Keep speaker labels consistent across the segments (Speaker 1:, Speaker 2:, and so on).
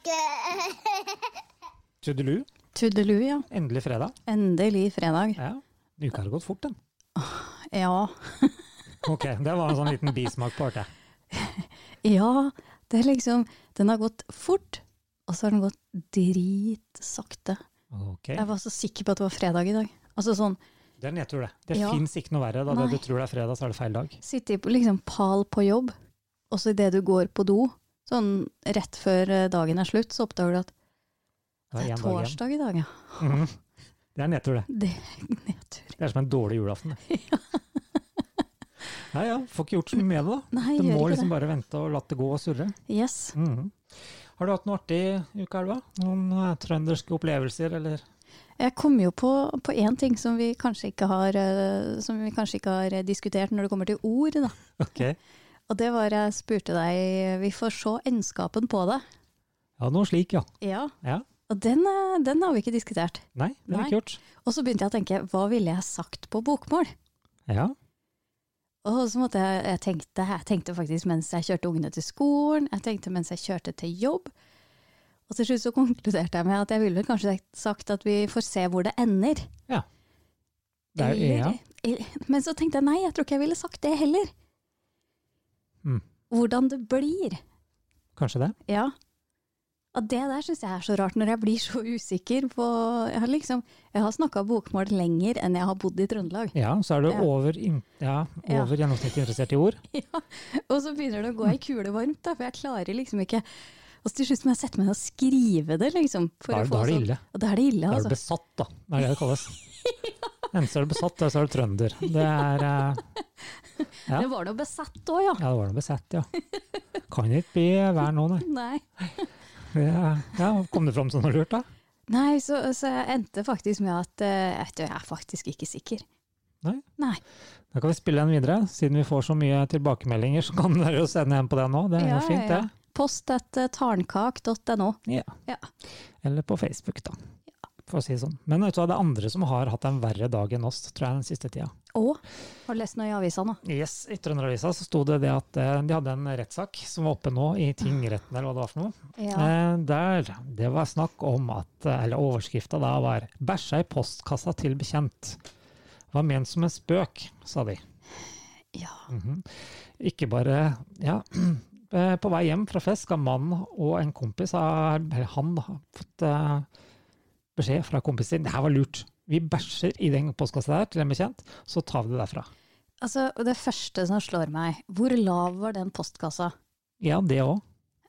Speaker 1: pepperkake.
Speaker 2: Tudelu,
Speaker 3: Tudelu, ja.
Speaker 2: endelig fredag.
Speaker 3: Endelig fredag.
Speaker 2: Ja. Uka har gått fort, den.
Speaker 3: Ja.
Speaker 2: Ok, det var en sånn liten bismak på artet.
Speaker 3: Ja, det er liksom Den har gått fort, og så har den gått dritsakte.
Speaker 2: Ok,
Speaker 3: Jeg var så sikker på at det var fredag i dag. Altså sånn
Speaker 2: det er nedtur, det. Det
Speaker 3: Ja.
Speaker 2: fins ikke noe verre. Da det
Speaker 3: Nei.
Speaker 2: du tror det er fredag, så er det feil dag.
Speaker 3: sitte i på- liksom pal på jobb, og så idet du går på do, sånn rett før eh, dagen er slutt, så oppdager du at
Speaker 2: Det
Speaker 3: det
Speaker 2: er én
Speaker 3: er
Speaker 2: dag igjen.
Speaker 3: torsdag i dag, ja.
Speaker 2: Mhm. Det er nedtur, det.
Speaker 3: Det er nedtur.
Speaker 2: Det er som en dårlig julaften. det. Ja ja, får ikke gjort så mye med det, da.
Speaker 3: Nei,
Speaker 2: Du
Speaker 3: jeg
Speaker 2: må
Speaker 3: gjør ikke
Speaker 2: liksom bare vente og la det gå og surre.
Speaker 3: det. Yes.
Speaker 2: Mhm. Har du hatt noe artig i uka, Elva? Noen eh, trønderske opplevelser, eller?
Speaker 3: Jeg kom jo på, på én ting som vi, kanskje ikke har, eh, som vi kanskje ikke har eh, diskutert når det kommer til ord, da.
Speaker 2: Ok.
Speaker 3: Og det var jeg spurte deg Vi får se endskapen på det.
Speaker 2: Ja, noe slik, ja.
Speaker 3: Ja.
Speaker 2: ja.
Speaker 3: Og den, eh, den har vi ikke diskutert.
Speaker 2: Nei, det har vi
Speaker 3: Nei.
Speaker 2: ikke gjort.
Speaker 3: Og så begynte jeg å tenke, hva ville jeg sagt på bokmål?
Speaker 2: Ja.
Speaker 3: Og så måtte jeg, jeg tenkte, jeg tenkte faktisk mens jeg kjørte ungene til skolen, jeg tenkte mens jeg kjørte til jobb. Og til slutt så konkluderte jeg med at jeg ville vel kanskje sagt at vi får se hvor det ender.
Speaker 2: Det er, E,
Speaker 3: Eller-
Speaker 2: ja.
Speaker 3: eller- Men så tenkte jeg nei, jeg tror ikke jeg ville sagt det heller.
Speaker 2: Mm.
Speaker 3: Hvordan det blir.
Speaker 2: Kanskje det.
Speaker 3: Ja. Og det der syns jeg er så rart, når jeg blir så usikker på Jeg har, liksom, jeg har snakka bokmål lenger enn jeg har bodd i Trøndelag.
Speaker 2: Ja, så er du
Speaker 3: Ja.
Speaker 2: over, in- ja,
Speaker 3: Ja.
Speaker 2: over gjennomsnittet interessert i ord.
Speaker 3: Og så begynner det å gå ei kule varmt, da, for jeg klarer liksom ikke Og så til slutt må jeg sette meg ned og skrive det, liksom. For
Speaker 2: Da,
Speaker 3: å
Speaker 2: er-
Speaker 3: få
Speaker 2: da er det
Speaker 3: sånn-
Speaker 2: ille.
Speaker 3: Og da er det
Speaker 2: Da
Speaker 3: ille,
Speaker 2: er du
Speaker 3: altså.
Speaker 2: besatt, da. Det er det det kalles. Enten så er du besatt, eller så er du trønder. Det er eh, ja.
Speaker 3: Det var noe besatt òg, ja.
Speaker 2: Ja, det var noe besatt, ja. Kan ikke bli vær nå, nei.
Speaker 3: Nei.
Speaker 2: Det er- Ja, kom det fram som noe lurt, da?
Speaker 3: Nei, så, så jeg endte faktisk med at eh, vet du, jeg er faktisk ikke sikker.
Speaker 2: Da kan vi spille den videre. Siden vi får så mye tilbakemeldinger, så kan dere jo sende en på den nå. Det er
Speaker 3: Ja,
Speaker 2: jo fint,
Speaker 3: ja, ja.
Speaker 2: det.
Speaker 3: Post at eh, tarnkak.no.
Speaker 2: Eller på Facebook, da. For å si det sånn. Men vet du hva, det er andre som har hatt en verre dag enn oss, tror jeg, den siste tida.
Speaker 3: Og har du lest noe i avisa nå?
Speaker 2: Yes, I Trønderavisa så sto det det at eh, de hadde en rettssak som var oppe nå i tingretten, eller hva det var for noe.
Speaker 3: Ja.
Speaker 2: Eh, Der det var snakk om at eh, Eller overskrifta da var 'Bæsja i postkassa til bekjent'. Var ment som en spøk, sa de.
Speaker 3: ja.
Speaker 2: Mhm. Ikke bare Ja. eh, På vei hjem fra fest skal mannen og en kompis ha eller Han da, har fått eh, beskjed fra kompisen sin. Det her var lurt. Vi bæsjer i den postkassa der til en bekjent, så tar vi det derfra.
Speaker 3: Altså, det første som slår meg, hvor lav var den postkassa?
Speaker 2: Ja, det òg.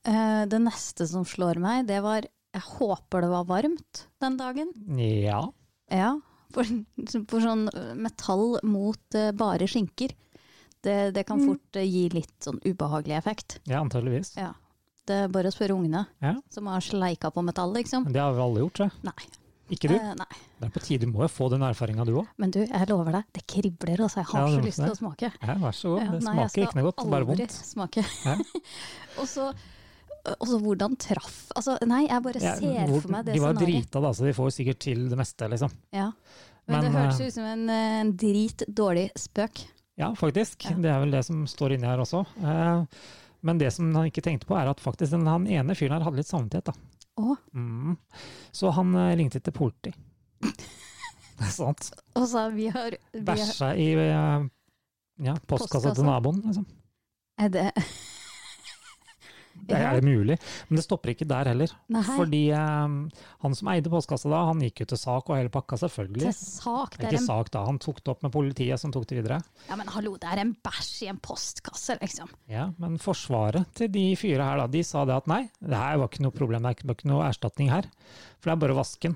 Speaker 3: Eh, det neste som slår meg, det var Jeg håper det var varmt den dagen.
Speaker 2: Ja.
Speaker 3: Ja. For, for sånn metall mot eh, bare skinker, det, det kan
Speaker 2: Mm.
Speaker 3: fort eh, gi litt sånn ubehagelig effekt.
Speaker 2: Ja, antageligvis.
Speaker 3: Ja. Det er bare å spørre ungene,
Speaker 2: Ja.
Speaker 3: som har sleika på metall, liksom.
Speaker 2: Men Det har vel alle gjort, tror jeg.
Speaker 3: Nei.
Speaker 2: Ikke du?
Speaker 3: Eh, nei.
Speaker 2: Det er på tide, du må jo få den erfaringa du òg.
Speaker 3: Men du, jeg lover deg, det kribler, altså. Jeg har
Speaker 2: Ja, det
Speaker 3: så
Speaker 2: må
Speaker 3: lyst til
Speaker 2: det.
Speaker 3: å smake.
Speaker 2: Ja, vær så god.
Speaker 3: Ja,
Speaker 2: Det
Speaker 3: nei, jeg
Speaker 2: smaker
Speaker 3: skal
Speaker 2: ikke noe godt, bare
Speaker 3: aldri
Speaker 2: vondt.
Speaker 3: Smake.
Speaker 2: Ja.
Speaker 3: og så og så hvordan traff Altså, nei, jeg bare
Speaker 2: Ja,
Speaker 3: ser
Speaker 2: hvor-
Speaker 3: for meg det
Speaker 2: de var
Speaker 3: scenarioet.
Speaker 2: drita, da, så de får sikkert til det meste, liksom.
Speaker 3: Ja. Men,
Speaker 2: Men,
Speaker 3: det hørtes
Speaker 2: eh,
Speaker 3: ut som en, eh, en drit dårlig spøk.
Speaker 2: Ja, faktisk.
Speaker 3: Ja.
Speaker 2: Det er vel det som står inni her også. Eh, Men det som han ikke tenkte på, er at faktisk den han ene fyren her hadde litt samvittighet, da.
Speaker 3: Å.
Speaker 2: Mm. Så han eh, ringte til politi. Det er sant.
Speaker 3: Og så vi har, vi har
Speaker 2: Bæsja i eh, ja, postkassa til
Speaker 3: Postkassa.
Speaker 2: naboen, liksom.
Speaker 3: er det,
Speaker 2: Det er det mulig. Men det stopper ikke der heller.
Speaker 3: Nei,
Speaker 2: Fordi eh, han som eide postkassa da, han gikk jo til sak og hele pakka, selvfølgelig.
Speaker 3: det er sak.
Speaker 2: Det
Speaker 3: Det
Speaker 2: er
Speaker 3: er
Speaker 2: ikke
Speaker 3: en,
Speaker 2: sak da, han tok det opp med politiet som tok det videre.
Speaker 3: ja, men hallo, det er en bæsj i en postkasse, liksom.
Speaker 2: Ja, Men forsvaret til de fyra her da, de sa det at nei, det her var ikke noe problem, det var ikke noe erstatning her. For det er bare å vaske den,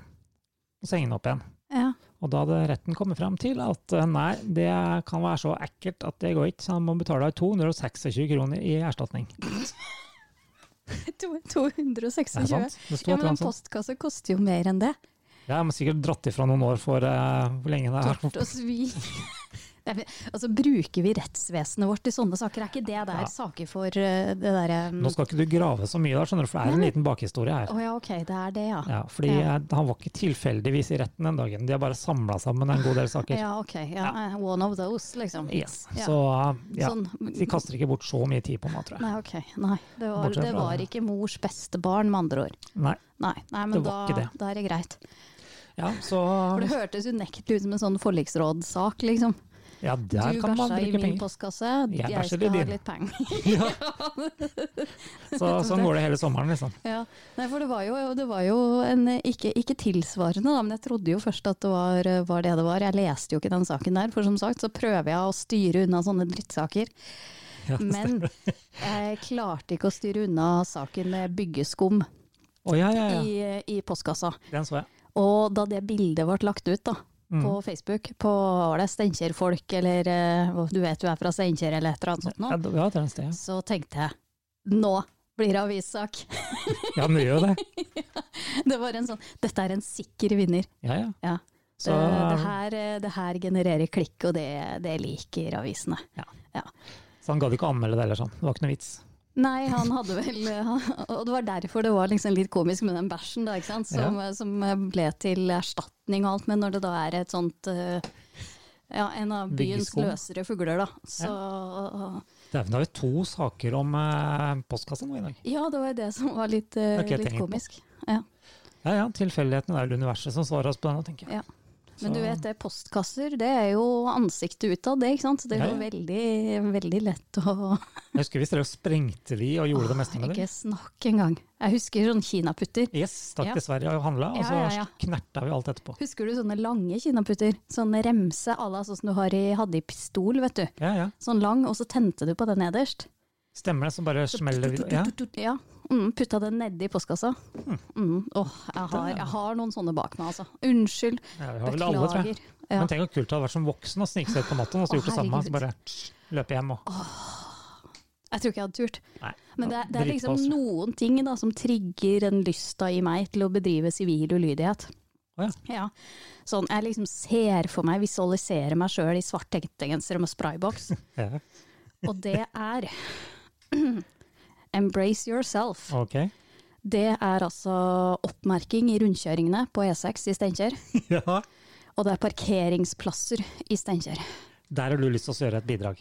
Speaker 2: og så henge den opp igjen.
Speaker 3: Ja.
Speaker 2: Og da hadde retten kommet fram til at eh, nei, det kan være så ekkelt at det går ikke, så han må betale 226 kroner i erstatning.
Speaker 3: To-
Speaker 2: Det er
Speaker 3: 226.
Speaker 2: sant? Det sto
Speaker 3: Ja,
Speaker 2: et eller
Speaker 3: men en
Speaker 2: annet sånt.
Speaker 3: postkasse koster jo mer enn det.
Speaker 2: Ja, Jeg må sikkert dratt ifra noen år for eh, hvor lenge det er.
Speaker 3: Tort og svi. Jeg vet- Altså, bruker vi rettsvesenet vårt i sånne saker? Er ikke det der
Speaker 2: Ja.
Speaker 3: saker for eh, det derre
Speaker 2: Nå skal ikke du grave så mye der, skjønner du, for det er en
Speaker 3: Nei,
Speaker 2: liten bakhistorie her.
Speaker 3: Å ja, ok, det er det, ja.
Speaker 2: Ja, fordi
Speaker 3: Ja.
Speaker 2: eh, Han var ikke tilfeldigvis i retten den dagen, de har bare samla sammen en god del saker.
Speaker 3: Ja, ok. Ja, eh, One of those, liksom.
Speaker 2: Yes.
Speaker 3: Ja.
Speaker 2: Så eh, ja,
Speaker 3: Sånn.
Speaker 2: de kaster ikke bort så mye tid på meg, tror jeg.
Speaker 3: Nei, ok. Nei. Det var,
Speaker 2: Bortsett
Speaker 3: det
Speaker 2: fra
Speaker 3: var
Speaker 2: det.
Speaker 3: ikke mors beste barn, med andre ord.
Speaker 2: Nei.
Speaker 3: Nei, nei men
Speaker 2: Det var ikke
Speaker 3: da,
Speaker 2: det.
Speaker 3: da er det greit.
Speaker 2: Ja, så
Speaker 3: For det hørtes unektelig ut som en sånn forliksrådssak, liksom.
Speaker 2: Ja, der
Speaker 3: du
Speaker 2: kan man
Speaker 3: bæsja i
Speaker 2: bruke
Speaker 3: min
Speaker 2: penger.
Speaker 3: postkasse,
Speaker 2: Jeg
Speaker 3: jeg,
Speaker 2: bæsjer i
Speaker 3: skal ha
Speaker 2: din.
Speaker 3: litt penger.
Speaker 2: Ja. Så sånn går det hele sommeren, liksom.
Speaker 3: Ja. Nei, for det var jo, det var jo en, ikke, ikke tilsvarende, da, men jeg trodde jo først at det var, var det det var. Jeg leste jo ikke den saken der, for som sagt så prøver jeg å styre unna sånne drittsaker.
Speaker 2: Ja, det
Speaker 3: Men jeg klarte ikke å styre unna saken med byggeskum
Speaker 2: Å ja, ja, ja.
Speaker 3: i, i postkassa.
Speaker 2: Den så jeg.
Speaker 3: Og da det bildet ble lagt ut da, på
Speaker 2: Mm.
Speaker 3: Facebook, på var det Steinkjer-folk, eller eh, du vet du er fra Steinkjer, eller et eller annet sånt
Speaker 2: Ja,
Speaker 3: nå,
Speaker 2: det var et sted. ja.
Speaker 3: så tenkte jeg nå blir det avissak.
Speaker 2: Ja, den gjør jo det.
Speaker 3: Det var en sånn Dette er en sikker vinner.
Speaker 2: Ja, ja.
Speaker 3: Ja.
Speaker 2: Så
Speaker 3: det, det,
Speaker 2: eh,
Speaker 3: her, eh, det her genererer klikk, og det, det liker avisene.
Speaker 2: så han gadd ikke å anmelde det heller, sånn. Det var ikke noe vits.
Speaker 3: Nei, han hadde vel Og det var derfor det var liksom litt komisk med den bæsjen, da, ikke sant? Som, som eh, ble til erstatning og alt. Men når det da er et sånt eh, Ja, en av byens
Speaker 2: Byggeskum.
Speaker 3: løsere fugler, da. Så
Speaker 2: Dæven, da har vi to saker om eh, postkassa nå i dag.
Speaker 3: Ja, det var jo det som var litt,
Speaker 2: Det
Speaker 3: eh,
Speaker 2: har ikke jeg
Speaker 3: litt
Speaker 2: tenkt på.
Speaker 3: komisk. Ja.
Speaker 2: Ja ja, tilfeldighetene er vel universet som svarer oss på den, tenker jeg.
Speaker 3: Men du
Speaker 2: Så-
Speaker 3: vet det, postkasser det er jo ansiktet utad, det. ikke sant? Så det er jo
Speaker 2: Ja, ja.
Speaker 3: veldig, veldig lett å
Speaker 2: Jeg husker vi drev og sprengte de og gjorde det meste med det.
Speaker 3: Ah, Ikke snakk engang. Jeg husker sånne kinaputter.
Speaker 2: Yes, stakk
Speaker 3: Ja.
Speaker 2: til Sverige og handla, og
Speaker 3: Ja,
Speaker 2: så
Speaker 3: ja, ja.
Speaker 2: knerta vi alt etterpå.
Speaker 3: Husker du sånne lange kinaputter? Sånn remse à la sånn som du har i, hadde i pistol, vet du.
Speaker 2: Ja, ja.
Speaker 3: Sånn lang, og så tente du på den nederst.
Speaker 2: Stemmer det, så bare smeller vi ja.
Speaker 3: Ja. Mm, putta den nedi postkassa.
Speaker 2: Hm.
Speaker 3: Mm. Åh, jeg har, jeg har noen sånne bak meg, altså. Unnskyld.
Speaker 2: ja, vi har vel alle, tror jeg.
Speaker 3: Beklager. Ja.
Speaker 2: Men tenk hvor kult det hadde vært som voksen å snike seg ut på natta og så
Speaker 3: Å,
Speaker 2: gjort det samme. Så
Speaker 3: herregud.
Speaker 2: bare løpe hjem og
Speaker 3: Jeg tror ikke jeg hadde turt.
Speaker 2: Nei.
Speaker 3: Men det, er- det er
Speaker 2: drit på
Speaker 3: liksom
Speaker 2: oss.
Speaker 3: noen ting da, som trigger den lysta i meg til å bedrive sivil ulydighet.
Speaker 2: Å
Speaker 3: Ja. Sånn, jeg liksom ser for meg, visualiserer meg sjøl i svart tenktegenser med sprayboks,
Speaker 2: Ja,
Speaker 3: og det er Embrace yourself.
Speaker 2: ok.
Speaker 3: Det er altså oppmerking i rundkjøringene på E6 i Steinkjer,
Speaker 2: Ja.
Speaker 3: og det er parkeringsplasser i Steinkjer.
Speaker 2: Der har du lyst til å gjøre et bidrag.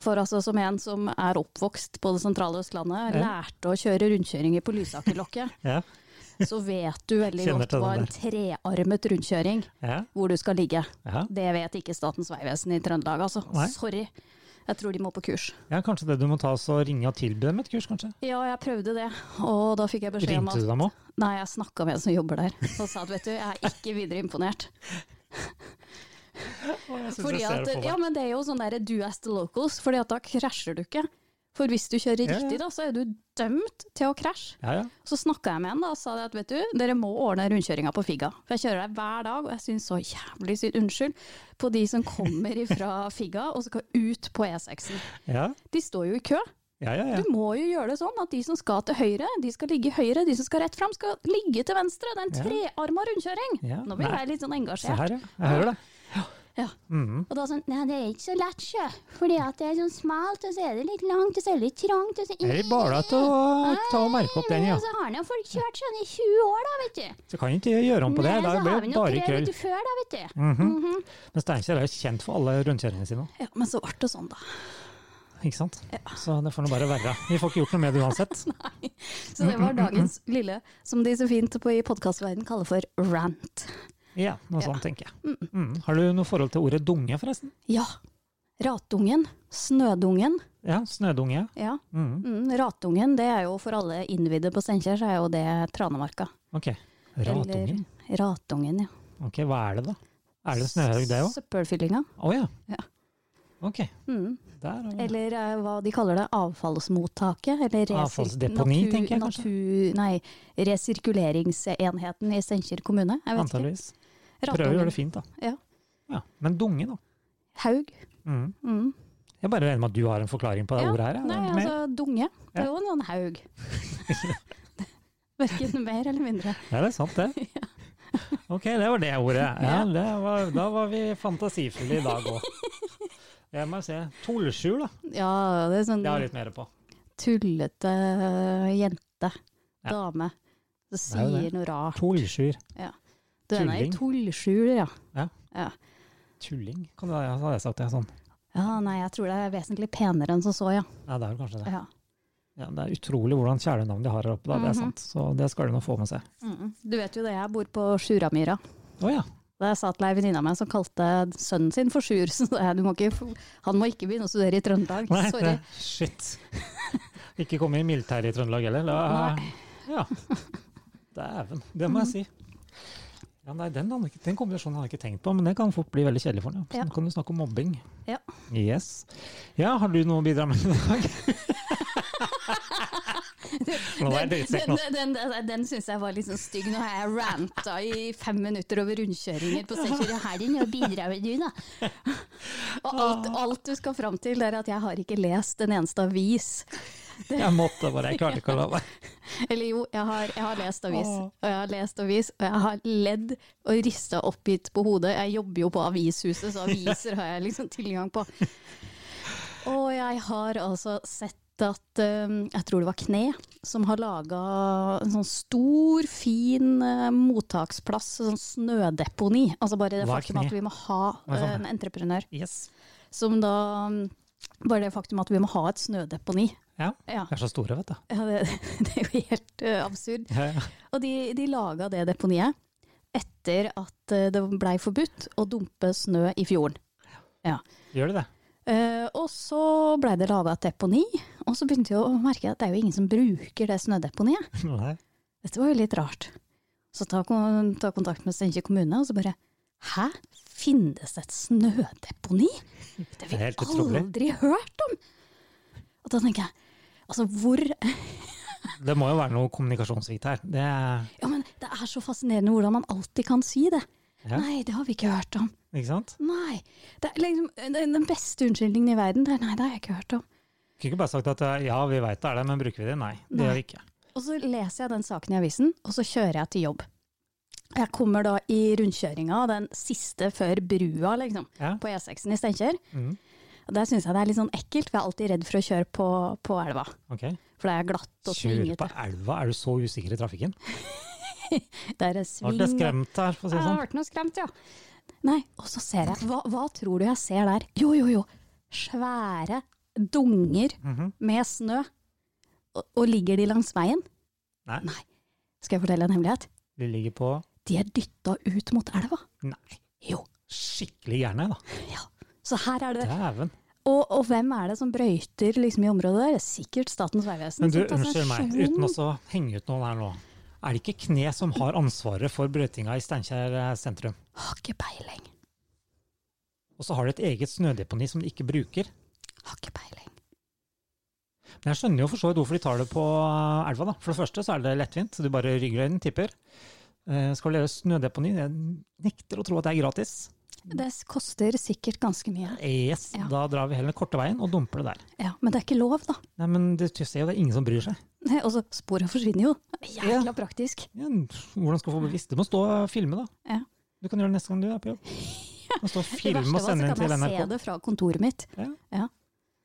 Speaker 3: For altså, som en som er oppvokst på det sentrale Østlandet, lærte å kjøre rundkjøringer på Lysakerlokket.
Speaker 2: Ja.
Speaker 3: så vet du veldig
Speaker 2: Kjenner
Speaker 3: godt
Speaker 2: til
Speaker 3: hva
Speaker 2: den
Speaker 3: en trearmet rundkjøring,
Speaker 2: Ja.
Speaker 3: hvor du skal ligge.
Speaker 2: Ja.
Speaker 3: Det vet ikke Statens vegvesen i Trøndelag, altså.
Speaker 2: Nei.
Speaker 3: Sorry. Jeg tror de må på kurs.
Speaker 2: ja, kanskje det du må ta så ringe og tilby dem et kurs, kanskje?
Speaker 3: Ja, jeg prøvde det, og da fikk jeg beskjed om
Speaker 2: Ringte du
Speaker 3: at
Speaker 2: dem òg?
Speaker 3: Nei, jeg snakka med en som jobber der, og sa at vet du, jeg er ikke videre imponert. Fordi at, ja, men det er jo sånn derre do as the locals, fordi at da krasjer du ikke. For hvis du kjører
Speaker 2: Ja, ja.
Speaker 3: riktig, da, så er du dømt til å krasje.
Speaker 2: Ja, ja.
Speaker 3: Så snakka jeg med en da, og sa det at vet du, dere må ordne rundkjøringa på Figga. For jeg kjører der hver dag, og jeg syns så jævlig synd, unnskyld, på de som kommer ifra Figga og skal ut på E6-en.
Speaker 2: Ja,
Speaker 3: De står jo i kø.
Speaker 2: ja, ja. ja.
Speaker 3: Du må jo gjøre det sånn at de som skal til høyre, de skal ligge høyre. De som skal rett fram, skal ligge til venstre. Det er en
Speaker 2: Ja.
Speaker 3: trearma rundkjøring.
Speaker 2: Ja,
Speaker 3: Nå blir
Speaker 2: nei.
Speaker 3: jeg litt sånn
Speaker 2: Se
Speaker 3: engasjert.
Speaker 2: her, ja. Jeg hører det.
Speaker 3: Ja.
Speaker 2: Mhm.
Speaker 3: Og da sånn Nei, det er ikke så lett, sjø. Fordi at det er sånn smalt, og så er det litt langt, og så er det litt trangt, og så
Speaker 2: Det er bare til å ta og merke opp den, ja.
Speaker 1: Og så har nå folk kjørt sånn i 20 år, da, vet du.
Speaker 2: Så kan ikke gjøre om på det.
Speaker 1: Nei,
Speaker 2: Det
Speaker 1: så har
Speaker 2: blir
Speaker 1: vi
Speaker 2: jo
Speaker 1: nå
Speaker 2: bare
Speaker 1: prøvd
Speaker 2: krøll.
Speaker 1: det før, da, vet du.
Speaker 2: Mhm. Men Steinkjer er jo kjent for alle rundkjøringene sine.
Speaker 3: Ja, men så ble det sånn, da.
Speaker 2: Ikke sant? Så det får nå bare være. Vi får ikke gjort noe med det uansett.
Speaker 3: Så
Speaker 2: Mm,
Speaker 3: det var dagens lille, som de så fint på i podkastverden kaller for rant.
Speaker 2: Ja, noe
Speaker 3: Ja.
Speaker 2: sånt tenker jeg. Mm. Har du noe forhold til ordet dunge, forresten?
Speaker 3: Ja. Ratungen. Snødungen.
Speaker 2: Ja, snødunge.
Speaker 3: Ja.
Speaker 2: Mm.
Speaker 3: Mm, ratungen, det er jo for alle innvidde på Steinkjer, så er jo det Tranemarka.
Speaker 2: Ok. Ratungen.
Speaker 3: Eller ratungen, ja.
Speaker 2: Ok, hva er det da? Er det snøhaug det òg?
Speaker 3: Søppelfyllinga.
Speaker 2: Å ja.
Speaker 3: Ja.
Speaker 2: Ok.
Speaker 3: Mm.
Speaker 2: Der har vi det.
Speaker 3: Eller eh, hva de kaller det, avfallsmottaket. Eller resir-
Speaker 2: Avfallsdeponi,
Speaker 3: natur-
Speaker 2: tenker jeg kanskje.
Speaker 3: Natur, nei, resirkuleringsenheten i Steinkjer kommune. Jeg vet ikke.
Speaker 2: Antageligvis. Prøver å gjøre det fint, da.
Speaker 3: Ja.
Speaker 2: Ja. Men dunge, da.
Speaker 3: Haug.
Speaker 2: Mm.
Speaker 3: Mm.
Speaker 2: Jeg bare regner med at du har en forklaring på det
Speaker 3: Ja,
Speaker 2: ordet her. ja.
Speaker 3: Nei,
Speaker 2: Mer?
Speaker 3: altså dunge. Det er jo en sånn haug. Verken mer eller mindre.
Speaker 2: Ja, det er sant, det. Ok, det var det ordet. Ja, det var, da var vi fantasifulle i dag òg. Jeg må se. Tollskjul, da.
Speaker 3: Ja, det er sånn
Speaker 2: Det har jeg litt mer på.
Speaker 3: tullete øh, jente,
Speaker 2: Ja.
Speaker 3: dame, som
Speaker 2: Det er jo
Speaker 3: sier
Speaker 2: det.
Speaker 3: noe rart.
Speaker 2: Tollskjur.
Speaker 3: Du er nå i
Speaker 2: tulling.
Speaker 3: tullskjul, ja.
Speaker 2: Tulling, kan det være? Hadde jeg sagt det sånn.
Speaker 3: Ja, nei, jeg tror det er vesentlig penere enn som så, ja.
Speaker 2: Ja, det er vel kanskje det.
Speaker 3: ja.
Speaker 2: Ja, det er utrolig hvordan kjælenavn de har her oppe, da. Det
Speaker 3: Mhm.
Speaker 2: er sant. Så det skal de nå få med seg.
Speaker 3: Mm. Du vet jo det, jeg bor på Sjuramyra.
Speaker 2: Å ja.
Speaker 3: Der satt ei venninne av meg som kalte sønnen sin for Sjur. Så sa jeg, du må ikke, han må ikke begynne å studere i Trøndelag.
Speaker 2: Nei,
Speaker 3: Sorry.
Speaker 2: det- shit. Ikke komme i militæret i Trøndelag heller. Da, ja. Dæven. Det må jeg si. Ja, nei, den, hadde ikke- den kombinasjonen hadde jeg ikke tenkt på, men det kan fort bli veldig kjedelig for deg.
Speaker 3: Ja.
Speaker 2: Nå kan du snakke om mobbing.
Speaker 3: Ja.
Speaker 2: Yes. Ja, har du noe å bidra med i dag? Nå er jeg drittsekk
Speaker 3: Den,
Speaker 2: nå.
Speaker 3: den, den, den syns jeg var litt sånn stygg. Nå har jeg ranta i fem minutter over rundkjøringer på Steinkjer og Helgen, og bidrar med du, da. Og alt, alt du skal fram til, det er at jeg har ikke lest en eneste avis.
Speaker 2: Jeg måtte bare, jeg klarte ikke å la være.
Speaker 3: Eller jo, jeg har, jeg har lest avis,
Speaker 2: Åh.
Speaker 3: og jeg har lest avis, og jeg har ledd og rista oppgitt på hodet. Jeg jobber jo på avishuset, så aviser har jeg liksom tilgang på. Og jeg har altså sett at eh, jeg tror det var Kne som har laga en sånn stor, fin eh, mottaksplass, sånn snødeponi. Altså bare det
Speaker 2: Hva er
Speaker 3: faktum
Speaker 2: Kne?
Speaker 3: at vi må ha
Speaker 2: Hva er
Speaker 3: eh,
Speaker 2: sånn?
Speaker 3: en entreprenør
Speaker 2: Yes.
Speaker 3: som da mm, Bare det faktum at vi må ha et snødeponi.
Speaker 2: Ja,
Speaker 3: Ja,
Speaker 2: vi er så store, vet du.
Speaker 3: ja det, det er jo helt eh, absurd.
Speaker 2: Ja, ja.
Speaker 3: Og de, de laga det deponiet etter at eh, det blei forbudt å dumpe snø i fjorden.
Speaker 2: Gjør de det?
Speaker 3: Eh, og så blei det laga et deponi, og så begynte jeg å merke at det er jo ingen som bruker det snødeponiet.
Speaker 2: Nei.
Speaker 3: Dette var jo litt rart. Så ta, kon- ta kontakt med Steinkjer kommune, og så bare Hæ? Finnes det et snødeponi? Det
Speaker 2: Det er
Speaker 3: har
Speaker 2: helt
Speaker 3: vi
Speaker 2: utrolig.
Speaker 3: aldri hørt om! Og da tenker jeg, altså hvor
Speaker 2: Det må jo være noe kommunikasjonssvikt her. Det er,
Speaker 3: Ja, men det er så fascinerende hvordan man alltid kan si det.
Speaker 2: Ja.
Speaker 3: Nei, det har vi ikke hørt om.
Speaker 2: ikke sant?
Speaker 3: Nei. Det er liksom, den den beste unnskyldningen i verden. Det er, nei, det har jeg ikke hørt om.
Speaker 2: Kunne ikke bare sagt at eh, ja, vi veit det er det, men bruker vi det? Nei, det
Speaker 3: Nei.
Speaker 2: gjør vi ikke.
Speaker 3: Og så leser jeg den saken i avisen, og så kjører jeg til jobb. Jeg kommer da i rundkjøringa, den siste før brua, liksom,
Speaker 2: Ja.
Speaker 3: på E6-en i Steinkjer.
Speaker 2: Mhm.
Speaker 3: Og Der syns jeg det er litt sånn ekkelt, for jeg er alltid redd for å kjøre på, på elva.
Speaker 2: Ok.
Speaker 3: For det er glatt og
Speaker 2: Kjøre på
Speaker 3: svingete.
Speaker 2: elva, er du så usikker i trafikken?
Speaker 3: Det er
Speaker 2: Nå ble jeg
Speaker 3: sving
Speaker 2: skremt her, for å si det
Speaker 3: Jeg
Speaker 2: sånn.
Speaker 3: har vært noe skremt, ja. Nei, og så ser jeg hva, hva tror du jeg ser der? Jo, jo, jo. Svære dunger
Speaker 2: Mhm.
Speaker 3: med snø. Og, og ligger de langs veien?
Speaker 2: Nei.
Speaker 3: Skal jeg fortelle en hemmelighet?
Speaker 2: Vi ligger på
Speaker 3: De er dytta ut mot elva.
Speaker 2: Nei,
Speaker 3: Jo.
Speaker 2: skikkelig gjerne, da.
Speaker 3: Så her er det
Speaker 2: Dæven.
Speaker 3: Og, og hvem er det som brøyter liksom, i området der? Det er Sikkert Statens
Speaker 2: Men
Speaker 3: vegvesen. Altså,
Speaker 2: du,
Speaker 3: som sånn tar seg
Speaker 2: unnskyld meg,
Speaker 3: sjon.
Speaker 2: uten å så henge ut noen her nå. Er det ikke Kne som har ansvaret for brøytinga i Steinkjer eh, sentrum?
Speaker 3: Har ikke peiling.
Speaker 2: Og så har de et eget snødeponi som de ikke bruker.
Speaker 3: Har ikke peiling.
Speaker 2: Men jeg skjønner jo for så vidt hvorfor de tar det på eh, elva, da. For det første så er det lettvint, så du bare rygger inn, tipper. Eh, Skal du gjøre snødeponi? Jeg nekter å tro at det er gratis.
Speaker 3: Det s- koster sikkert ganske mye.
Speaker 2: Yes,
Speaker 3: Ja.
Speaker 2: da drar vi heller korte veien og dumper det der.
Speaker 3: Ja, Men det er ikke lov, da.
Speaker 2: Nei, men du, du ser jo det er ingen som bryr seg.
Speaker 3: Nei, Og så sporene forsvinner jo. Jækla praktisk.
Speaker 2: Ja, hvordan skal du få bevisst? Du må stå og filme, da.
Speaker 3: Ja.
Speaker 2: Du kan gjøre det neste gang du er på jobb. Du må stå og
Speaker 3: Det
Speaker 2: filme
Speaker 3: verste
Speaker 2: og sende
Speaker 3: var så
Speaker 2: inn til
Speaker 3: kan jeg se
Speaker 2: NRK.
Speaker 3: det fra kontoret mitt.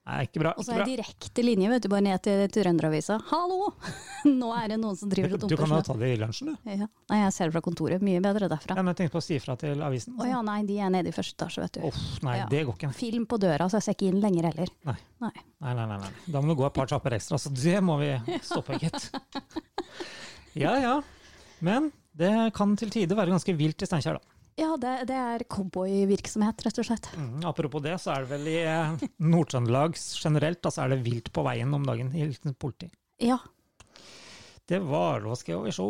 Speaker 2: Nei, ikke bra.
Speaker 3: Og så
Speaker 2: Ikke
Speaker 3: er
Speaker 2: bra.
Speaker 3: det Altså, direkte linje vet du, bare ned til Trønderavisa. Hallo! Nå er det noen som driver og
Speaker 2: Du, du
Speaker 3: dumper
Speaker 2: kan jo
Speaker 3: snø.
Speaker 2: ta det i lunsjen, du.
Speaker 3: Ja. Nei, jeg ser det fra kontoret. Mye bedre derfra.
Speaker 2: Nei, men jeg tenkte på å si ifra til avisen.
Speaker 3: Å ja, nei, de er nede i første etasje, vet du.
Speaker 2: Uff, nei,
Speaker 3: Ja.
Speaker 2: det går ikke.
Speaker 3: Film på døra, så jeg ser ikke inn lenger heller.
Speaker 2: Nei.
Speaker 3: Nei.
Speaker 2: Nei, nei, nei, nei. Da må du gå et par trapper ekstra, så det må vi stoppe, gitt. Ja ja. Men det kan til tider være ganske vilt i Steinkjer, da.
Speaker 3: Ja, det, det er cowboyvirksomhet, rett og slett.
Speaker 2: Mm, apropos det, så er det vel i eh, Nord-Trøndelag generelt, da så er det vilt på veien om dagen. Hilsen politi.
Speaker 3: Ja.
Speaker 2: Det var Hva skal jeg se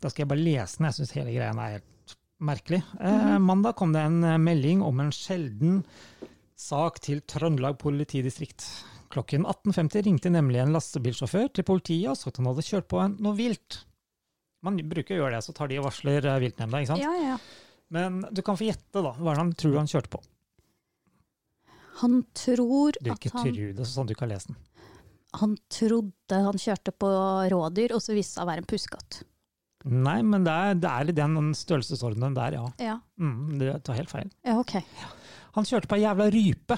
Speaker 2: Da skal jeg bare lese den. Jeg syns hele greia er helt merkelig. Eh,
Speaker 3: Mhm.
Speaker 2: mandag kom det en eh, melding om en sjelden sak til Trøndelag politidistrikt. Klokken 18.50 ringte nemlig en lastebilsjåfør til politiet og sa at han hadde kjørt på en, noe vilt. Man bruker å gjøre det, så tar de og varsler eh, viltnemnda, ikke sant.
Speaker 3: ja, ja.
Speaker 2: Men du kan få gjette, da. Hva er det han tror han kjørte på?
Speaker 3: Han tror
Speaker 2: Du
Speaker 3: at
Speaker 2: ikke
Speaker 3: han,
Speaker 2: tror det, sånn at du ikke har lest den.
Speaker 3: han trodde han kjørte på rådyr, og så viste det seg å være en puskatt.
Speaker 2: Nei, men det er, det er i den størrelsesordenen der, ja.
Speaker 3: Ja.
Speaker 2: Mm, du tar helt feil.
Speaker 3: ja, ok.
Speaker 2: Han kjørte på ei jævla rype.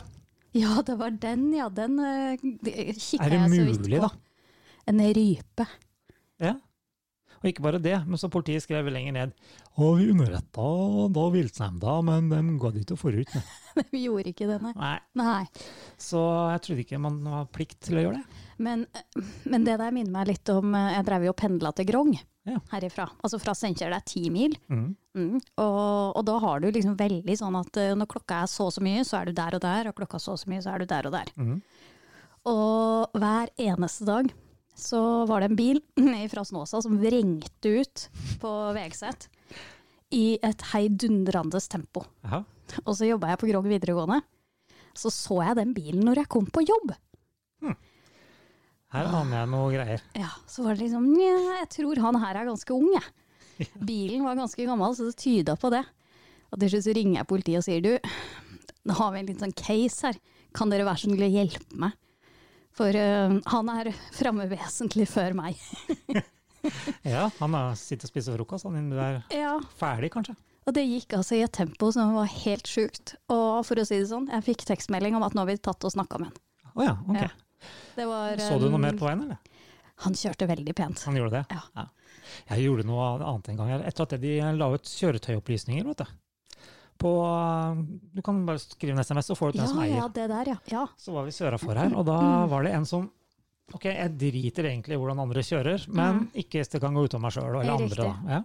Speaker 3: Ja, det var den, ja. Den eh, det- kikket
Speaker 2: Er det
Speaker 3: jeg så vidt
Speaker 2: mulig,
Speaker 3: på.
Speaker 2: da?
Speaker 3: En rype.
Speaker 2: Og ikke bare det, men så politiet skrev lenger ned. Å, vi underretta da viltnemnda, men de ga det ikke forut. nei.»
Speaker 3: Vi gjorde ikke det, nei.
Speaker 2: Nei,
Speaker 3: nei.
Speaker 2: så jeg trodde ikke man har plikt til å gjøre det.
Speaker 3: Men, eh, men det der minner meg litt om eh, Jeg drev jo og pendla til Grong
Speaker 2: Ja.
Speaker 3: herifra. Altså fra Steinkjer, det er ti mil.
Speaker 2: Mm.
Speaker 3: Mm. Og, og da har du liksom veldig sånn at eh, når klokka er så og så mye, så er du der og der, og klokka er så og så mye, så er du der og der.
Speaker 2: Mhm.
Speaker 3: Og hver eneste dag så var det en bil fra Snåsa som vrengte ut på Vegset i et heidundrende tempo.
Speaker 2: Jaha.
Speaker 3: Og så jobba jeg på Grong videregående. Så så jeg den bilen når jeg kom på jobb.
Speaker 2: Her aner jeg noe greier.
Speaker 3: Ja, Så var det liksom Nja, jeg tror han her er ganske ung, jeg. Bilen var ganske gammel, så det tyda på det. Og til slutt så ringer jeg politiet og sier du, nå har vi en liten sånn case her. Kan dere være så snill å hjelpe meg? For eh, han er framme vesentlig før meg.
Speaker 2: Ja, Han har- sitter og spiser frokost, han inne der.
Speaker 3: Ja,
Speaker 2: Ferdig, kanskje?
Speaker 3: Og det gikk altså i et tempo som var helt sjukt. Og for å si det sånn, jeg fikk tekstmelding om at nå har vi tatt og snakka med han.
Speaker 2: Å ja, ok.
Speaker 3: Ja. Det var,
Speaker 2: Så du noe
Speaker 3: eh,
Speaker 2: mer på veien, eller?
Speaker 3: Han kjørte veldig pent.
Speaker 2: Han gjorde det?
Speaker 3: Ja.
Speaker 2: Jeg gjorde noe annet en gang. Etter at de la ut kjøretøyopplysninger, vet du. På, du kan bare skrive en SMS, så får du den
Speaker 3: Ja,
Speaker 2: som eier.
Speaker 3: ja, det der, ja. ja.
Speaker 2: Så var vi sørafor her, og da var det en som Ok, jeg driter egentlig i hvordan andre kjører, men ikke hvis det kan gå ut over meg sjøl eller
Speaker 3: Mm. Riktig.
Speaker 2: andre. da. Ja.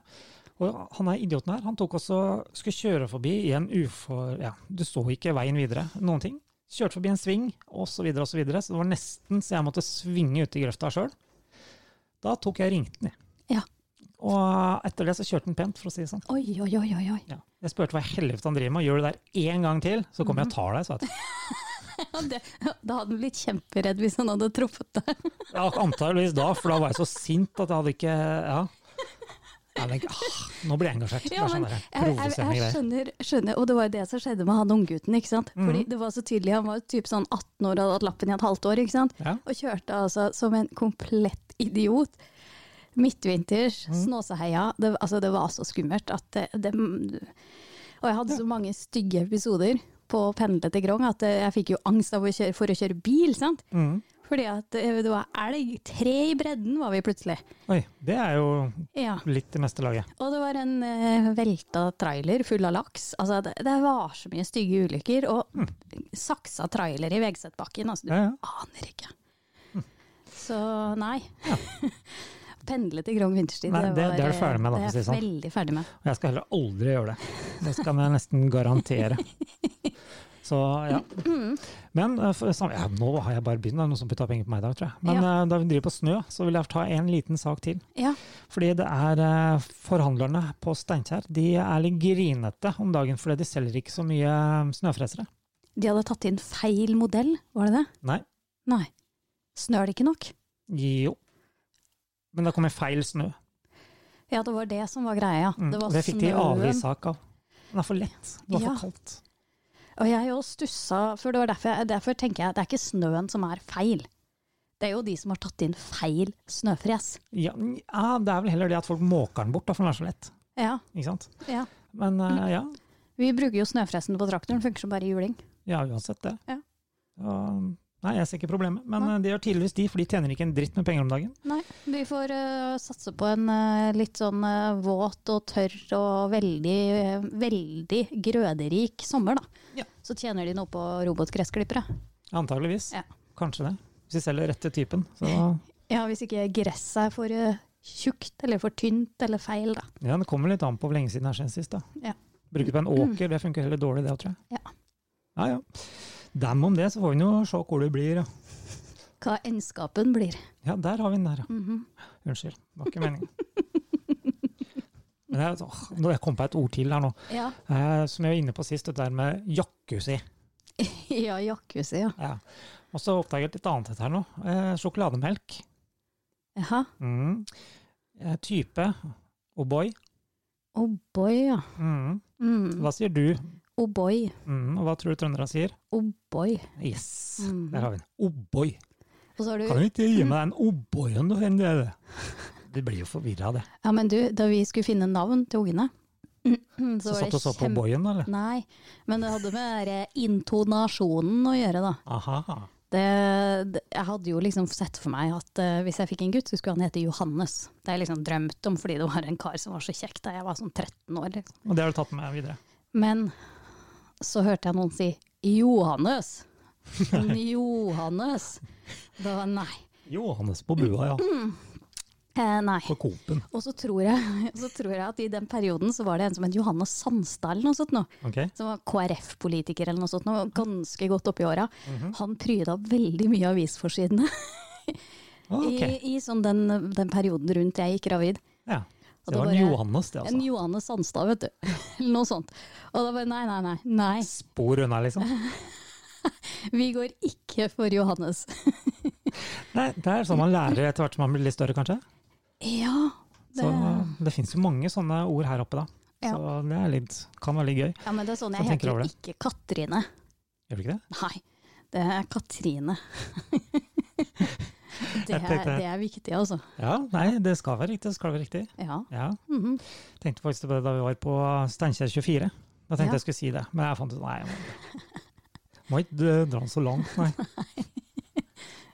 Speaker 2: Og han er idioten her. Han tok også, skulle kjøre forbi i en ufor... Ja, du så ikke veien videre. Noen ting. Kjørte forbi en sving, osv., så, videre, og så, videre, så det var nesten så jeg måtte svinge ut i grøfta sjøl. Da tok jeg og ringte den, jeg.
Speaker 3: Ja.
Speaker 2: Og etter det så kjørte han pent, for å si det sånn.
Speaker 3: Oi, oi, oi, oi. oi.
Speaker 2: Ja. Jeg spurte hva i helvete han driver med, gjør du det der én gang til, så kommer jeg og tar deg, sa jeg til
Speaker 3: Ja, det, da hadde han blitt kjemperedd hvis han hadde truffet deg.
Speaker 2: Ja, antageligvis da, for da var jeg så sint at jeg hadde ikke Ja. Jeg tenkte, ah, nå blir jeg engasjert.
Speaker 3: Ja,
Speaker 2: det er
Speaker 3: men
Speaker 2: sånn der,
Speaker 3: jeg, jeg,
Speaker 2: provoserende
Speaker 3: jeg
Speaker 2: greier. Mhm.
Speaker 3: skjønner, skjønner, og det var jo det som skjedde med han unggutten, ikke sant. Fordi det var så tydelig, han var jo typ sånn 18 år og hadde hatt lappen i et halvt år, ikke sant.
Speaker 2: Ja.
Speaker 3: Og kjørte altså som en komplett idiot. Midtvinters,
Speaker 2: Mhm.
Speaker 3: Snåsaheia. Det, altså, det var så skummelt at det, det Og jeg hadde så mange stygge episoder på å pendle til Grong at eh, jeg fikk jo angst av å kjøre, for å kjøre bil, sant.
Speaker 2: Mhm.
Speaker 3: Fordi at eh, det var elg. Tre i bredden var vi plutselig.
Speaker 2: Oi, det er jo
Speaker 3: Ja.
Speaker 2: litt i meste laget.
Speaker 3: Og det var en eh, velta trailer full av laks. Altså, det, det var så mye stygge ulykker. Og saksa trailer i Vegsetbakken. Altså, du
Speaker 2: Hmm. Ja, Hmm. ja.
Speaker 3: aner ikke. Så nei. Pendle til Grong vinterstid.
Speaker 2: Nei, det- det er du
Speaker 3: eh,
Speaker 2: ferdig med, da, for
Speaker 3: det
Speaker 2: å
Speaker 3: er
Speaker 2: si det sånn.
Speaker 3: Veldig ferdig med.
Speaker 2: Og jeg skal heller aldri gjøre det. Det skal jeg nesten garantere. Så ja.
Speaker 3: Mm.
Speaker 2: Men eh, for, sam- ja, nå har jeg bare begynt, det er noen som putta penger på meg i dag, tror jeg. Men eh, da vi driver på snø, så vil jeg ta en liten sak til.
Speaker 3: Ja.
Speaker 2: Fordi det er eh, forhandlerne på Steinkjer, de er litt grinete om dagen fordi de selger ikke så mye eh, snøfresere.
Speaker 3: De hadde tatt inn feil modell, var det det?
Speaker 2: Nei.
Speaker 3: Nei. Snør det ikke nok?
Speaker 2: Jo. Men det kommer feil snø.
Speaker 3: Ja, det var det som var greia.
Speaker 2: Mm.
Speaker 3: Det
Speaker 2: og
Speaker 3: var
Speaker 2: det fikk de
Speaker 3: snøen.
Speaker 2: avvissak av. Den er for lett. Den er
Speaker 3: Ja.
Speaker 2: for kaldt.
Speaker 3: Og jeg òg stussa, for det var derfor, derfor tenker jeg at det er ikke snøen som er feil. Det er jo de som har tatt inn feil snøfres.
Speaker 2: Ja, n- ja, det er vel heller det at folk måker den bort, da, for den er så lett.
Speaker 3: Ja,
Speaker 2: Ikke sant?
Speaker 3: ja.
Speaker 2: Men eh, ja.
Speaker 3: Vi bruker jo snøfresen på traktoren, funker som bare juling.
Speaker 2: ja, uansett det.
Speaker 3: Ja.
Speaker 2: Og, nei, jeg ser ikke problemet. Men
Speaker 3: Nei.
Speaker 2: eh, det gjør tydeligvis de, for de tjener ikke en dritt med penger om dagen.
Speaker 3: Nei, vi får øh, satse på en øh, litt sånn øh, våt og tørr og veldig, øh, veldig grøderik sommer, da.
Speaker 2: Ja.
Speaker 3: Så tjener de noe på robotgressklippere.
Speaker 2: Antageligvis.
Speaker 3: Ja.
Speaker 2: Kanskje det. Hvis de selger rette typen, så
Speaker 3: Ja, hvis ikke gresset er for øh, tjukt eller for tynt eller feil, da.
Speaker 2: Ja, det kommer litt an på hvor lenge siden det er siden sist, da.
Speaker 3: Ja. Mm.
Speaker 2: Bruke det på en åker, det funker heller dårlig, det tror jeg.
Speaker 3: Ja.
Speaker 2: Ja, ja. Dem om det, så får vi nå se hvor det blir. ja.
Speaker 3: Hva endskapen blir.
Speaker 2: Ja, der har vi den der, ja.
Speaker 3: Mhm.
Speaker 2: Unnskyld, det var ikke meningen. Men jeg, åh, nå- jeg kom på et ord til her nå,
Speaker 3: Ja.
Speaker 2: eh, som jeg var inne på sist, det der med jacuzzi.
Speaker 3: ja, jacuzzi, ja.
Speaker 2: Ja. Og så oppdaget jeg litt annet dette her nå. Eh, sjokolademelk.
Speaker 3: Jaha.
Speaker 2: Mm. Eh, type O'boy.
Speaker 3: Oh boy, ja.
Speaker 2: Mm.
Speaker 3: Mm.
Speaker 2: Hva sier du?
Speaker 3: Oh boy,
Speaker 2: Mm. Og hva tror du trønderne sier?
Speaker 3: oh boy.
Speaker 2: Yes,
Speaker 3: Mhm.
Speaker 2: der har vi den. O'boy.
Speaker 3: Og så har
Speaker 2: Oh Kan
Speaker 3: du
Speaker 2: oh du ikke gi meg den O'boyen du hender? Du blir jo forvirra av det.
Speaker 3: Ja, men du, da vi skulle finne navn til ungene
Speaker 2: Så
Speaker 3: Mm-hmm, var det
Speaker 2: satt du og så på
Speaker 3: kjempe-
Speaker 2: boyen, eller?
Speaker 3: Nei, men det hadde med den der eh, intonasjonen å gjøre, da.
Speaker 2: Aha.
Speaker 3: Det, det, jeg hadde jo liksom sett for meg at eh, hvis jeg fikk en gutt, så skulle han hete Johannes. Det har jeg liksom drømt om fordi det var en kar som var så kjekk da jeg var sånn 13 år. Liksom.
Speaker 2: Og det har du tatt med videre.
Speaker 3: Men så hørte jeg noen si Johannes. Johannes. Da nei.
Speaker 2: Johannes på bua, ja.
Speaker 3: Eh, nei.
Speaker 2: På Coop-en.
Speaker 3: Og så tror, jeg, så tror jeg at i den perioden så var det en som het Johannes Sandstad eller noe sånt nå.
Speaker 2: Ok?
Speaker 3: Som var KrF-politiker eller noe sånt nå.
Speaker 2: Mhm.
Speaker 3: Ganske godt oppi åra. Han pryda veldig mye avisforsidene.
Speaker 2: Ah, Ok.
Speaker 3: I, i sånn den, den perioden rundt jeg gikk gravid.
Speaker 2: Ja. Det
Speaker 3: Og da
Speaker 2: var
Speaker 3: bare-
Speaker 2: en Johannes, det,
Speaker 3: En
Speaker 2: altså.
Speaker 3: Johanne Sandstad, vet du. Eller noe sånt. Og da bare nei, nei, nei. nei.
Speaker 2: Spor unna, liksom.
Speaker 3: Vi går ikke for Johannes.
Speaker 2: Nei, det er sånn man lærer etter hvert som man blir litt større, kanskje.
Speaker 3: Ja, det,
Speaker 2: Så det fins jo mange sånne ord her oppe, da. Så det er litt, kan være litt gøy.
Speaker 3: ja men det er sånn.
Speaker 2: Hva
Speaker 3: Jeg
Speaker 2: tenker du
Speaker 3: heter
Speaker 2: over
Speaker 3: jo
Speaker 2: det?
Speaker 3: ikke Katrine.
Speaker 2: Gjør du ikke det?
Speaker 3: Nei, det er Katrine. det,
Speaker 2: Jeg
Speaker 3: er,
Speaker 2: tenkte-
Speaker 3: det er viktig, altså.
Speaker 2: Ja, nei, det skal være riktig. Det skal være riktig.
Speaker 3: Ja.
Speaker 2: Ja.
Speaker 3: Mhm.
Speaker 2: Tenkte faktisk på det da vi var på Steinkjer 24. Da tenkte
Speaker 3: Ja.
Speaker 2: jeg skulle si det, men jeg fant ut nei. jeg må- Må ikke eh, dra den så langt, nei.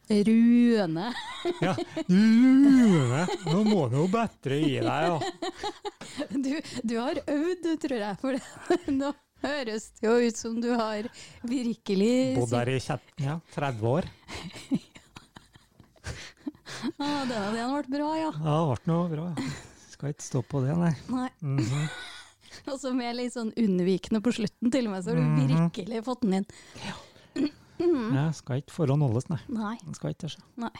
Speaker 3: Rune.
Speaker 2: Ja. Rune, nå må du jo bedre i deg, ja.
Speaker 3: Du, du har øvd, tror jeg, for det. nå høres det jo ut som du har virkelig
Speaker 2: Bodd der i kjet- ja, 30 år.
Speaker 3: Ah, den hadde vært bra, ja.
Speaker 2: Ja, det ble noe bra. ja. Skal ikke stå på det, nei.
Speaker 3: Nei.
Speaker 2: Mhm.
Speaker 3: Og så med litt sånn unnvikende på slutten til og med, så har du
Speaker 2: Mhm.
Speaker 3: virkelig fått den inn. Mhm.
Speaker 2: Ja, skal ikke forhånd holdes, nei.
Speaker 3: Nei.
Speaker 2: Den Skal ikke altså. det skje.
Speaker 3: nei.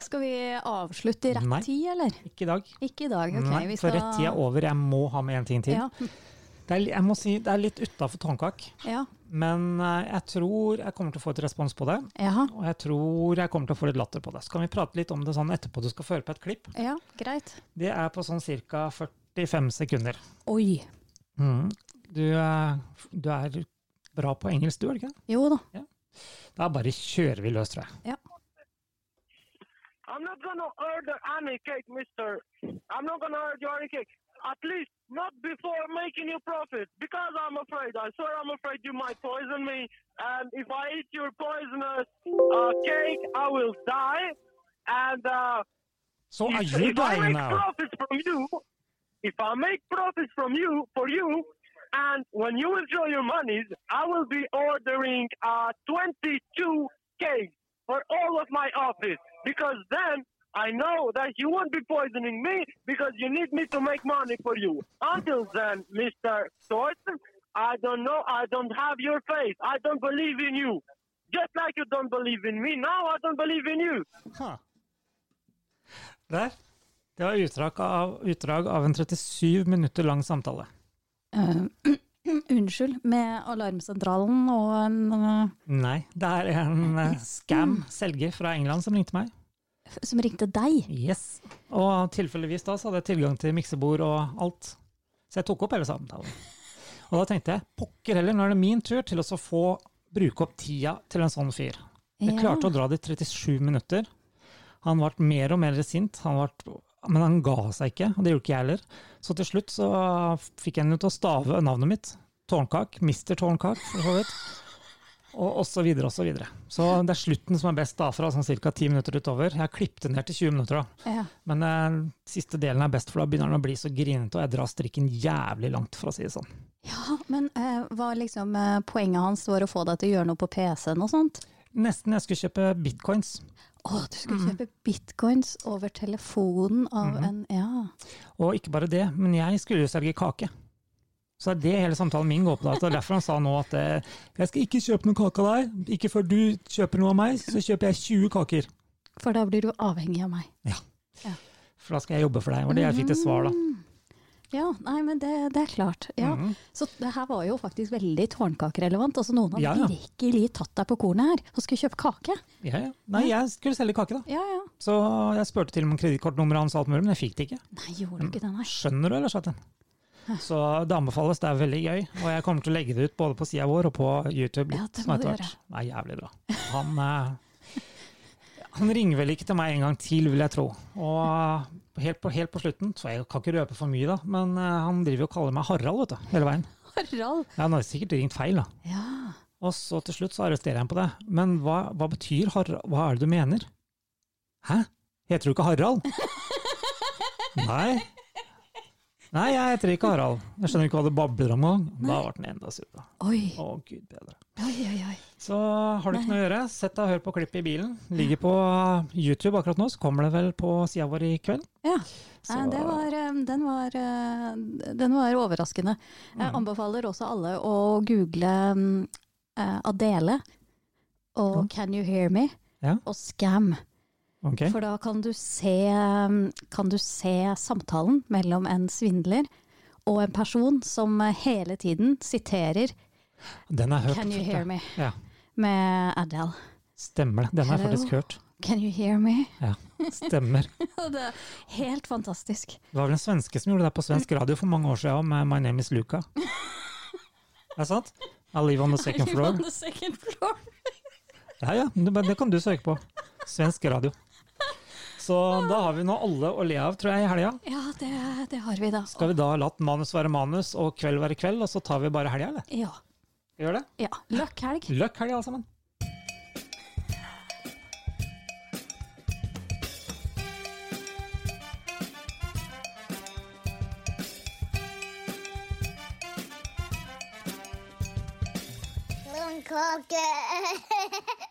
Speaker 3: Skal vi avslutte i rett
Speaker 2: Nei.
Speaker 3: tid, eller?
Speaker 2: Ikke i dag.
Speaker 3: Ikke i dag, ok.
Speaker 2: nei,
Speaker 3: vi
Speaker 2: for rett tid er over. Jeg må ha med en ting til.
Speaker 3: Ja,
Speaker 2: Det, er, li- jeg må si, det er litt utafor tårnkak,
Speaker 3: ja,
Speaker 2: men eh, jeg tror jeg kommer til å få et respons på det.
Speaker 3: ja,
Speaker 2: Og jeg tror jeg kommer til å få litt latter på det. Så kan vi prate litt om det sånn etterpå. Du skal føre på et klipp.
Speaker 3: ja, greit.
Speaker 2: Det er på sånn ca. 45 sekunder.
Speaker 3: Oi.
Speaker 2: Mhm. Du, eh, du er bra på engelsk, du, er du ikke? det?
Speaker 3: Jo da.
Speaker 2: Da bare kjører vi løs, tror jeg.
Speaker 4: I'm not gonna order any cake, mister. I'm not gonna order any cake. At least not before making you profit, because I'm afraid. I swear I'm afraid you might poison me, and if I eat your poisonous uh, cake, I will die. And uh,
Speaker 2: So are
Speaker 4: if,
Speaker 2: you
Speaker 4: if I
Speaker 2: dying
Speaker 4: make
Speaker 2: now?
Speaker 4: profits from you, if I make profits from you for you, and when you withdraw your monies, I will be ordering uh, 22 cakes for all of my office because then I know that you won't be poisoning me because you need me to make money for you. Until then, Mister Thorson, I don't know. I don't have your faith. I don't believe in you. Just like you don't believe in me now, I don't believe in you.
Speaker 2: Huh. Der. Det var utdrag av, utdrag av en 37 minutter lang samtale.
Speaker 3: Eh, unnskyld, med alarmsentralen og en eh,
Speaker 2: Nei, det er en eh, scam selger fra England som ringte meg.
Speaker 3: f- som ringte deg.
Speaker 2: Yes. Og tilfeldigvis da så hadde jeg tilgang til miksebord og alt. Så jeg tok opp hele samtalen. Og da tenkte jeg pokker heller, nå er det min tur til å så få bruke opp tida til en sånn fyr. Jeg klarte å dra det i 37 minutter. Han ble mer og mer sint, han ble, men han ga seg ikke. Og det gjorde ikke jeg heller. Så til slutt så fikk jeg henne til å stave navnet mitt. Tårnkak. Mister Tårnkak, for så vidt. Og, og så videre og så videre. Så det er slutten som er best, da, fra sånn ca. 10 minutter utover. Jeg har klippet det ned til 20 minutter, da.
Speaker 3: Ja.
Speaker 2: Men eh, siste delen er best, for da begynner den å bli så grinete, og jeg drar strikken jævlig langt, for å si det sånn.
Speaker 3: Ja, men eh, hva liksom eh, poenget hans var å få deg til å gjøre noe på PC-en og sånt?
Speaker 2: Nesten jeg skulle kjøpe bitcoins,
Speaker 3: Å, du skulle
Speaker 2: Mm.
Speaker 3: kjøpe bitcoins over telefonen av
Speaker 2: Mm-hmm.
Speaker 3: en Ja.
Speaker 2: og ikke bare det, men jeg skulle jo selge kake. Så det er det hele samtalen min går på. da, så det er derfor han sa nå at eh, jeg skal ikke kjøpe noen kake av deg, ikke før du kjøper noe av meg, så kjøper jeg 20 kaker.
Speaker 3: For da blir du avhengig av meg.
Speaker 2: For da skal jeg jobbe for deg. Og det jeg fikk til svar, da.
Speaker 3: Ja, nei, men det, det er klart. Ja.
Speaker 2: Mm-hmm.
Speaker 3: Så det her var jo faktisk veldig tårnkakerelevant. Altså noen hadde
Speaker 2: Ja, ja.
Speaker 3: virkelig tatt deg på kornet her og skulle kjøpe kake.
Speaker 2: Ja, ja. Nei, jeg skulle selge kake, da.
Speaker 3: Ja, ja.
Speaker 2: Så jeg spurte til og med om kredittkortnummeret hans og alt mulig, men jeg fikk det ikke.
Speaker 3: Nei, gjorde
Speaker 2: Mm.
Speaker 3: du ikke det, nei?
Speaker 2: Skjønner du, eller, Chatten? Så det anbefales, det er veldig gøy. Og jeg kommer til å legge det ut både på sida vår og på YouTube.
Speaker 3: Ja, det
Speaker 2: sånn
Speaker 3: må du
Speaker 2: etter hvert.
Speaker 3: gjøre.
Speaker 2: Det er jævlig bra. Han, eh, han ringer vel ikke til meg en gang til, vil jeg tro. Og helt på, helt på slutten, så jeg kan ikke røpe for mye, da, men eh, han driver jo og kaller meg Harald vet du, hele veien.
Speaker 3: Harald.
Speaker 2: Ja, Han har sikkert ringt feil, da.
Speaker 3: Ja.
Speaker 2: Og så til slutt så arresterer jeg ham på det. Men hva, hva betyr Harald? Hva er det du mener? Hæ? Heter du ikke Harald? Nei. Nei, jeg heter ikke Harald. Jeg skjønner ikke hva du babler om engang. Da ble den enda surere.
Speaker 3: Oi,
Speaker 2: Å, gud bedre.
Speaker 3: oi, oi. oi.
Speaker 2: Så har du ikke noe å gjøre, sett deg og hør på klippet i bilen. Ligger på YouTube akkurat nå, så kommer det vel på sida vår i kveld.
Speaker 3: Ja.
Speaker 2: Så-
Speaker 3: Nei, det var, eh, den, var, eh, den var overraskende. Jeg
Speaker 2: Mm.
Speaker 3: anbefaler også alle å google mm, eh, Adele og Can You Hear Me
Speaker 2: Ja.
Speaker 3: og Scam.
Speaker 2: Ok.
Speaker 3: For da kan du, se, mm, kan du se samtalen mellom en svindler og en person som eh, hele tiden siterer
Speaker 2: Den har jeg hørt.
Speaker 3: Can You Hear Me
Speaker 2: Ja.
Speaker 3: med Adele.
Speaker 2: Stemmer det. Den har jeg
Speaker 3: Hello.
Speaker 2: faktisk hørt.
Speaker 3: Can you hear me?
Speaker 2: Ja, stemmer.
Speaker 3: Og det er helt fantastisk.
Speaker 2: Det var vel en svenske som gjorde det på svensk radio for mange år siden med My Name Is Luca. Er det sant? I live on the second
Speaker 3: Are you on
Speaker 2: floor.
Speaker 3: the second floor?
Speaker 2: Ja, ja, det, men det kan du søke på. Svensk radio. Så da har vi nå alle å le av, tror jeg, i helga.
Speaker 3: Ja, det, det har vi da.
Speaker 2: Skal vi da la manus være manus og kveld være kveld, og så tar vi bare helga, eller?
Speaker 3: Ja.
Speaker 2: Gjør det?
Speaker 3: ja. Løkk helg.
Speaker 2: Løkk helg, alle sammen.
Speaker 5: Blomkake!